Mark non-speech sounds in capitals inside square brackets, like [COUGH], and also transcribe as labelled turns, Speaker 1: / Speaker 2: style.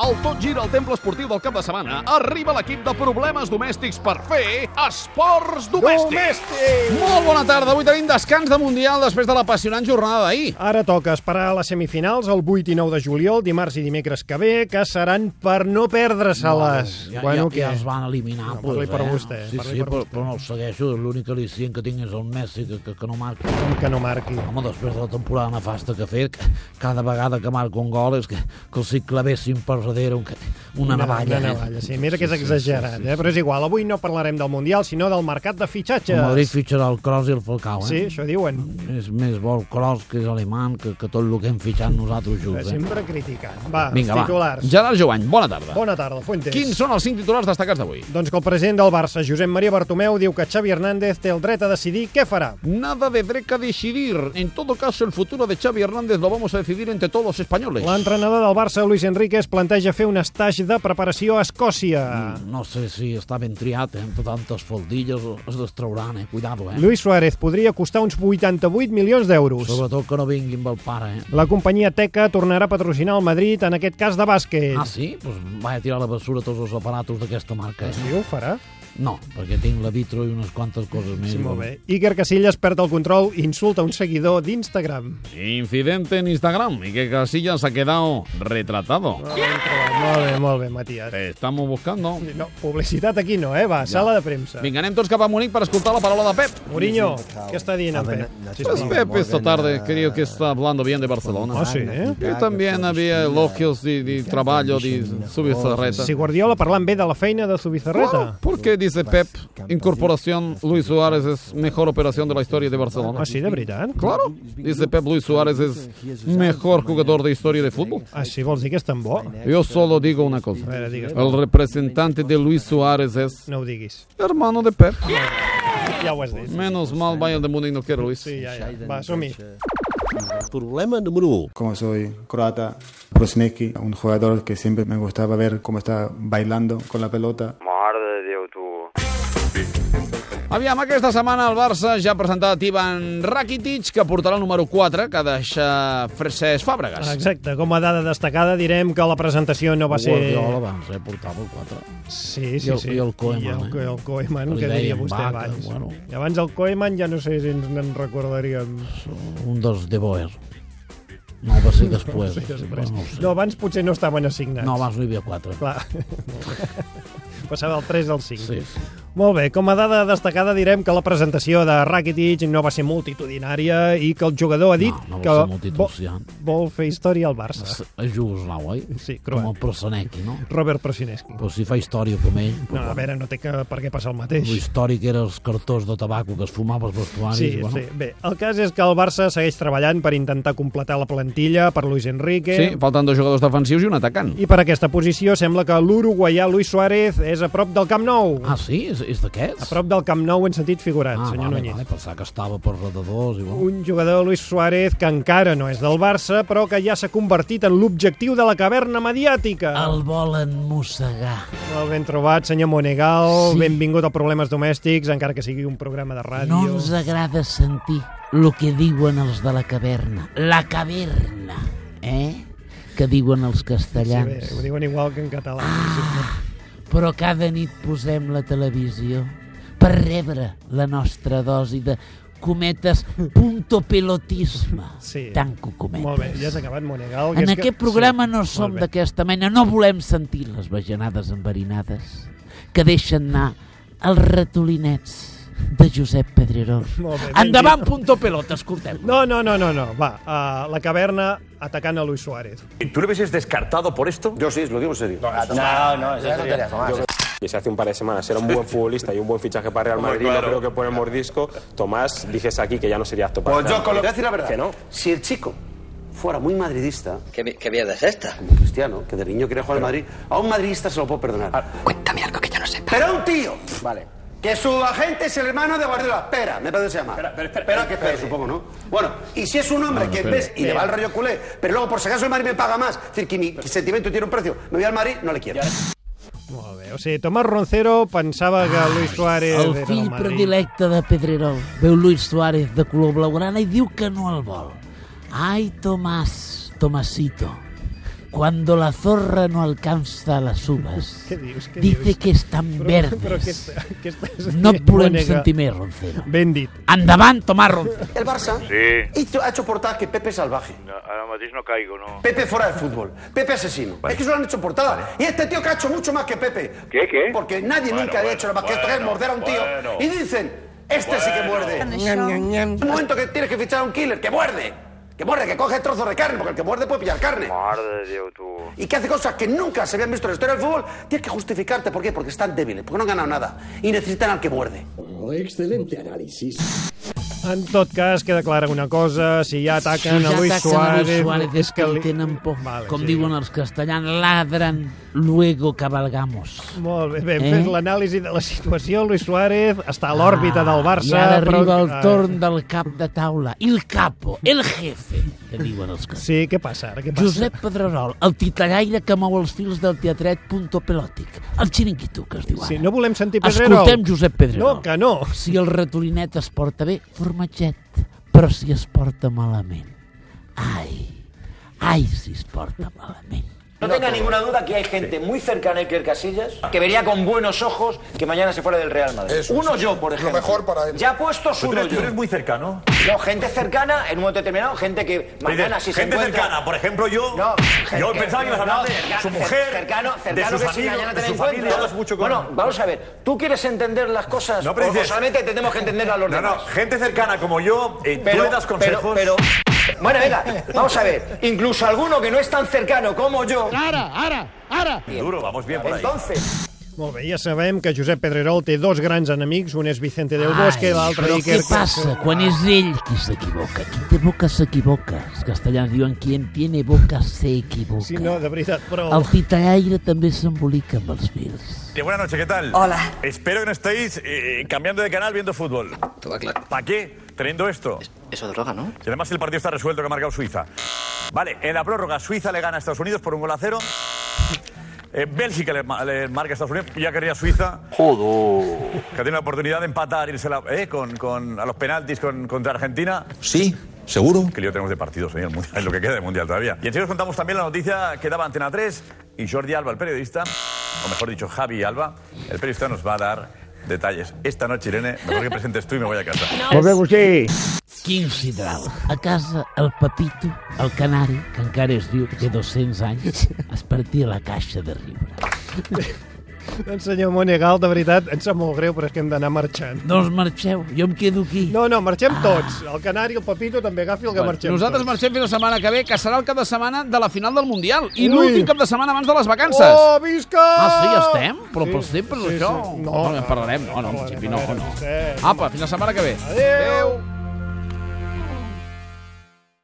Speaker 1: El tot gira al temple esportiu del cap de setmana. Arriba l'equip de problemes domèstics per fer esports domèstics.
Speaker 2: Domèstic!
Speaker 3: Molt bona tarda. Avui tenim descans de Mundial després de l'apassionant jornada d'ahir.
Speaker 2: Ara toca esperar a les semifinals el 8 i 9 de juliol, dimarts i dimecres que ve, que seran per no perdre-se-les.
Speaker 4: Ja, bueno, ja, ja es van eliminar. eh?
Speaker 2: No, parli per vostè,
Speaker 4: Sí,
Speaker 2: parli
Speaker 4: sí,
Speaker 2: per
Speaker 4: però,
Speaker 2: vostè.
Speaker 4: però no el segueixo. L'únic al·licient que tinc és el Messi, que, que, que no marca.
Speaker 2: Com que no marqui.
Speaker 4: Home, després de la temporada nefasta que ha fet, cada vegada que marca un gol és que, que els hi clavessin per darrere un, una navalla. eh?
Speaker 2: Una navalla, sí. Mira que és exagerat, eh? però és igual. Avui no parlarem del Mundial, sinó del mercat de fitxatges.
Speaker 4: El Madrid fitxarà el Kroos i el Falcao,
Speaker 2: Sí,
Speaker 4: eh?
Speaker 2: això diuen.
Speaker 4: És més bo el Kroos, que és alemany, que, que tot el que hem fitxat nosaltres junts. Eh?
Speaker 2: Sempre criticant. Va,
Speaker 3: Vinga,
Speaker 2: els titulars.
Speaker 3: va. Gerard Jovany, bona tarda.
Speaker 2: Bona tarda, Fuentes.
Speaker 3: Quins són els cinc titulars destacats d'avui?
Speaker 2: Doncs que el president del Barça, Josep Maria Bartomeu, diu que Xavi Hernández té el dret a decidir què farà.
Speaker 3: Nada de Dreca decidir. En todo caso, el futuro de Xavi Hernández lo vamos a decidir entre todos los españoles.
Speaker 2: L'entrenador del Barça, Luis Enrique, es planteja fer un estatge de preparació a Escòcia.
Speaker 4: No sé si està ben triat, eh? Amb tantes faldilles es destrauran, eh? Cuidado, eh?
Speaker 2: Luis Suárez podria costar uns 88 milions d'euros.
Speaker 4: Sobretot que no vinguin amb el pare, eh?
Speaker 2: La companyia Teca tornarà a patrocinar el Madrid, en aquest cas de bàsquet.
Speaker 4: Ah, sí? Doncs pues vaig a tirar a la bessura tots els aparatos d'aquesta marca. Eh?
Speaker 2: Sí, ho farà.
Speaker 4: No, perquè tinc la vitro i unes quantes coses més.
Speaker 2: Sí, molt bé. Iker Casillas perd el control i insulta un seguidor d'Instagram.
Speaker 3: Incidente en Instagram y que Casillas ha quedado retratado.
Speaker 2: Molt bé, molt bé, Matías.
Speaker 3: Te estamos buscando.
Speaker 2: No, publicitat aquí no, eh? Va, sala de premsa.
Speaker 3: Vinga, anem tots cap a Munic per escoltar la paraula de Pep.
Speaker 2: Mourinho, què està dient en Pep?
Speaker 3: Pues
Speaker 2: Sisplau.
Speaker 3: Pep esta tarde creo que está hablando bien de Barcelona.
Speaker 2: Ah, sí, eh?
Speaker 3: Yo también había elogios de, de trabajo de Subizarreta.
Speaker 2: Si Guardiola parlant bé de la feina de
Speaker 3: Claro,
Speaker 2: Zubizarreta.
Speaker 3: ¿Por qué dice Pep, incorporación Luis Suárez es mejor operación de la historia de Barcelona?
Speaker 2: Ah, sí, de veritat?
Speaker 3: Claro, dice Pep, Luis Suárez es mejor jugador de historia de fútbol.
Speaker 2: Ah, sí, vols dir que és tan bo?
Speaker 3: Yo solo digo una cosa.
Speaker 2: ver, digas.
Speaker 3: El representante de Luis Suárez es
Speaker 2: No ho diguis.
Speaker 3: hermano de Pep.
Speaker 2: Ja ho has dit.
Speaker 3: Menos mal Bayern de Múnich no quiere Luis.
Speaker 2: Sí, ja, ja. Va, som-hi.
Speaker 5: Problema número 1.
Speaker 6: como soy croata, Prosmeki, un jugador que siempre me gustaba ver cómo está bailando con la pelota.
Speaker 7: Mare de Déu, tu.
Speaker 3: Aviam, aquesta setmana el Barça ja ha presentat Ivan Rakitic, que portarà el número 4, que deixa Francesc Fàbregas.
Speaker 2: Exacte, com a dada destacada direm que la presentació no va ser...
Speaker 4: Guardiola abans, eh? Portava el 4.
Speaker 2: Sí, sí,
Speaker 4: I el-
Speaker 2: sí.
Speaker 4: i el Koeman,
Speaker 2: I el,
Speaker 4: eh?
Speaker 2: el Koeman,
Speaker 4: Li
Speaker 2: que diria
Speaker 4: deien
Speaker 2: vostè
Speaker 4: vaca,
Speaker 2: abans.
Speaker 4: bueno.
Speaker 2: I abans el Koeman ja no sé si ens en recordaríem.
Speaker 4: Un dels de Boer. No,
Speaker 2: [LAUGHS]
Speaker 4: va ser després.
Speaker 2: Sí, després.
Speaker 4: No, ho sé.
Speaker 2: No, abans potser no estaven assignats.
Speaker 4: no abans no hi havia 4.
Speaker 2: Clar. [LAUGHS] Passava del 3 al 5.
Speaker 4: Sí, sí.
Speaker 2: Molt bé, com a dada destacada direm que la presentació de Rakitic no va ser multitudinària i que el jugador ha dit
Speaker 4: No, no va ser
Speaker 2: que vol,
Speaker 4: multitudinant.
Speaker 2: vol fer història al Barça.
Speaker 4: A Jugoslau, oi?
Speaker 2: Sí, croat.
Speaker 4: Com el Prosenecki, no?
Speaker 2: Robert Prosineski.
Speaker 4: Però si fa història com ell...
Speaker 2: No, a veure, no té que, per què passar el
Speaker 4: Lo
Speaker 2: mateix.
Speaker 4: històric era els cartons de tabaco que es fumava als vestuaris.
Speaker 2: Sí,
Speaker 4: Ah, bueno,
Speaker 2: sí. Bé, el cas és que el Barça segueix treballant per intentar completar la plantilla per Luis Enrique,
Speaker 3: Sí, falten dos jugadors defensius i un atacant.
Speaker 2: I per aquesta posició sembla que l'uruguaià Luis Suárez és a prop del Camp Nou.
Speaker 4: Ah, sí? És, és d'aquests?
Speaker 2: A prop del Camp Nou en sentit figurat,
Speaker 4: ah,
Speaker 2: senyor
Speaker 4: vale,
Speaker 2: Núñez.
Speaker 4: Vale, pensava que estava per redadors i bueno.
Speaker 2: Un jugador, Luis Suárez, que encara no és del Barça, però que ja s'ha convertit en l'objectiu de la caverna mediàtica.
Speaker 4: El volen mossegar.
Speaker 2: Molt ben trobat, senyor Monegal.
Speaker 4: Sí.
Speaker 2: Benvingut a Problemes Domèstics, encara que sigui un programa de ràdio.
Speaker 8: No ens agrada sentir el que diuen els de la caverna. La caverna, eh? Que diuen els
Speaker 2: sí, bé,
Speaker 8: castellans.
Speaker 2: ho diuen igual que en català. Ah.
Speaker 8: Però cada nit posem la televisió per rebre la nostra dosi de cometes punto pelotisme.
Speaker 2: Sí.
Speaker 8: Tanco cometes.
Speaker 2: Molt bé, ja has acabat, Monegal. que
Speaker 8: En
Speaker 2: és que-
Speaker 8: aquest programa no
Speaker 2: molt
Speaker 8: som
Speaker 2: bé.
Speaker 8: d'aquesta mena, no volem sentir les bajanades enverinades que deixen anar els ratolinets de Josep Pedrerós.
Speaker 2: Molt bé, ben
Speaker 8: Endavant,
Speaker 2: dit.
Speaker 8: punto pelota, escoltem.
Speaker 2: No, no, no, no, no. Va, a la caverna atacant a Luis Suárez.
Speaker 9: ¿Tú le hubieses descartado por esto?
Speaker 10: Yo sí, lo digo en serio. Ah,
Speaker 7: No, no, és tonteria.
Speaker 11: que se hace un par de semanas era un buen futbolista y un buen fichaje para Real Madrid,
Speaker 7: claro.
Speaker 11: no creo que por el mordisco. Tomás, dijes aquí que ya no sería apto para
Speaker 10: Pues
Speaker 11: Real
Speaker 10: yo con lo... Te
Speaker 11: Madrid.
Speaker 10: voy a decir la verdad.
Speaker 11: Que no.
Speaker 10: Si el chico fuera muy madridista,
Speaker 7: Que, vi- que mierda es esta?
Speaker 10: como Cristiano, que de niño quería jugar al Madrid, a un madridista se lo puedo perdonar.
Speaker 8: Cuéntame algo que yo no sepa.
Speaker 10: Pero a un tío, vale, que su agente es el hermano de Guardiola. Pera, me parece que se llama. Pera, que espera, supongo, ¿no? Bueno, y si es un
Speaker 7: Ah,
Speaker 10: hombre que ves y le va el rollo culé, pero luego por si acaso el Madrid me paga más, es decir, que mi sentimiento tiene un precio, me voy al Madrid, no le quiero.
Speaker 2: Molt bé, o sigui, Tomás Roncero pensava que Luis Suárez
Speaker 8: El
Speaker 2: era del
Speaker 8: fill
Speaker 2: Madrid.
Speaker 8: predilecte de Pedrerol veu Luis Suárez de color blaugrana i diu que no el vol. Ai, Tomàs, Tomasito, Cuando la zorra no alcanza las uvas,
Speaker 2: [LAUGHS] Què dius, què
Speaker 8: dice
Speaker 2: dius?
Speaker 8: que están
Speaker 2: Però-
Speaker 8: verdes.
Speaker 2: però què està- què estàs [LAUGHS]
Speaker 8: no
Speaker 2: dient,
Speaker 8: volem
Speaker 2: Boneca?
Speaker 8: sentir més Roncero.
Speaker 2: Ben dit.
Speaker 8: Endavant, Tomàs Roncero.
Speaker 10: El Barça
Speaker 7: Sí.
Speaker 10: hizo- ha hecho portada que Pepe salvaje.
Speaker 7: No, ara mateix no caigo, no.
Speaker 10: Pepe fuera del fútbol. Pepe asesino. Es que eso lo han hecho portada. Y este tío que ha hecho mucho más que Pepe.
Speaker 7: ¿Qué, qué?
Speaker 10: Porque nadie
Speaker 7: Bueno,
Speaker 10: nunca había
Speaker 7: bueno,
Speaker 10: hecho nada más que esto, que es
Speaker 7: bueno,
Speaker 10: morder a un tío.
Speaker 7: bueno.
Speaker 10: Y dicen, este sí que muerde.
Speaker 7: Bueno.
Speaker 10: Un momento que tienes que fichar a un killer, que muerde. Que muerde, que coge trozos de carne, porque el que muerde puede pillar carne.
Speaker 7: Mare de Déu, tu.
Speaker 10: Y que hace cosas que nunca se habían visto en la historia del fútbol, tienes que justificarte. ¿Por qué? Porque están débiles, porque no han ganado nada. Y necesitan al que muerde.
Speaker 12: Excelente análisis.
Speaker 2: En tot cas, queda clara una cosa, si ja ataquen
Speaker 8: Si ja
Speaker 2: a Luis
Speaker 8: ataquen a Luis
Speaker 2: Suárez...
Speaker 8: Suárez, és que li tenen por. Com diuen els castellans, ladran, luego cabalgamos.
Speaker 2: Molt bé, bé
Speaker 8: Eh?
Speaker 2: eh? fes l'anàlisi de la situació. Luis Suárez està a l'òrbita del Barça.
Speaker 8: Ah, I ara
Speaker 2: però... Ah,
Speaker 8: arriba el torn del cap de taula. Il capo, el jefe, que diuen els
Speaker 2: Ah, Sí, què passa ara? Què [LAUGHS] passa?
Speaker 8: Josep Pedrerol, el titagaire que mou els fils del teatret Punto Pelòtic. El xiringuito, que es diu ara.
Speaker 2: Sí, no volem sentir Pedrerol.
Speaker 8: Escoltem Josep Pedrerol.
Speaker 2: No, que no.
Speaker 8: Si el ratolinet es porta bé, formatget. Però si es porta malament, ai, ai, si es porta malament.
Speaker 13: No tenga ninguna duda que hay gente muy cercana a Iker Casillas que vería con buenos ojos que mañana se fuera del Real Madrid. uno yo, por ejemplo. mejor para él. Ya puestos uno yo.
Speaker 9: muy cercano.
Speaker 13: No, gente cercana en un momento determinado, gente que mañana si se
Speaker 9: gente
Speaker 13: encuentra...
Speaker 9: cercana, por ejemplo, yo.
Speaker 13: No,
Speaker 9: yo
Speaker 13: gente-
Speaker 9: pensaba que ibas a hablar
Speaker 13: no,
Speaker 9: de
Speaker 13: cercana-
Speaker 9: su mujer,
Speaker 13: cercano, cercano
Speaker 9: de sus
Speaker 13: que si
Speaker 9: amigos,
Speaker 13: mañana te
Speaker 9: de
Speaker 13: la
Speaker 9: su
Speaker 13: encuentras.
Speaker 9: familia. Hablas mucho con
Speaker 13: Bueno, vamos a ver, tú quieres entender las cosas
Speaker 9: No, pero
Speaker 13: o- o
Speaker 9: dices-
Speaker 13: solamente tenemos que entenderlas los
Speaker 9: No, no,
Speaker 13: demás.
Speaker 9: gente cercana como yo, eh, tú le das consejos.
Speaker 13: Pero, pero- bueno, venga, vamos a ver. Incluso alguno que no es tan cercano como yo. ¡Ara, ara, ara!
Speaker 9: Duro, vamos bien por ahí.
Speaker 13: Entonces,
Speaker 2: Molt bé, ja sabem que Josep Pedrerol té dos grans enemics, un és Vicente del Bosque, l'altre
Speaker 8: però
Speaker 2: Iker...
Speaker 8: què passa quan és ell qui s'equivoca? Qui té boca s'equivoca. Els castellans diuen quien tiene boca se equivoca.
Speaker 2: Sí, no, de veritat, però... Doncs
Speaker 8: El titagaire també s'embolica amb els fils.
Speaker 9: Eh, buenas noches, ¿qué tal?
Speaker 8: Hola.
Speaker 9: Espero que no estéis eh, cambiando de canal viendo fútbol. Todo claro. ¿Para qué? Teniendo esto. eso droga, ¿no? Y además el partido está resuelto que ha marcado Suiza. Vale, en la prórroga Suiza le gana a Estados Unidos por un gol a cero. Eh, Bélgica le, ma- le marca a Estados Unidos. Ya querría Suiza. Jodo. Que tiene la oportunidad de empatar, irse a la- eh, con, con- a los penaltis con- contra Argentina.
Speaker 14: Sí, seguro.
Speaker 9: Que lío tenemos de partidos en el Mundial, [LAUGHS] es lo que queda del Mundial todavía. Y enseguida os contamos también la noticia que daba Antena 3 y Jordi Alba, el periodista, o mejor dicho, Javi Alba, el periodista nos va a dar detalles. Esta noche, Irene, mejor que presentes tú y me voy a casa.
Speaker 8: Agustí. Quin sidral. A casa, el Pepito, el canari, que encara es diu que té 200
Speaker 2: [LAUGHS]
Speaker 8: anys, es partia la caixa de riure.
Speaker 2: Doncs senyor Monegal, de veritat, ens sap molt greu, però és que hem d'anar marxant.
Speaker 8: Doncs marxeu, jo em quedo aquí.
Speaker 2: No, no, marxem
Speaker 8: Ah.
Speaker 2: tots. El Canari, el Pepito, també agafi el que marxem
Speaker 3: Nosaltres
Speaker 2: tots.
Speaker 3: marxem fins la setmana que ve, que serà el cap de setmana de la final del Mundial. I
Speaker 2: Ui.
Speaker 3: l'últim cap de setmana abans de les vacances.
Speaker 2: Oh, visca!
Speaker 3: Ah, sí, ja estem? Però per sempre,
Speaker 2: sí,
Speaker 3: això?
Speaker 2: sí.
Speaker 3: No, no, en parlarem. No, no, en principi no, no. Apa, fins la setmana que ve.
Speaker 2: Adéu!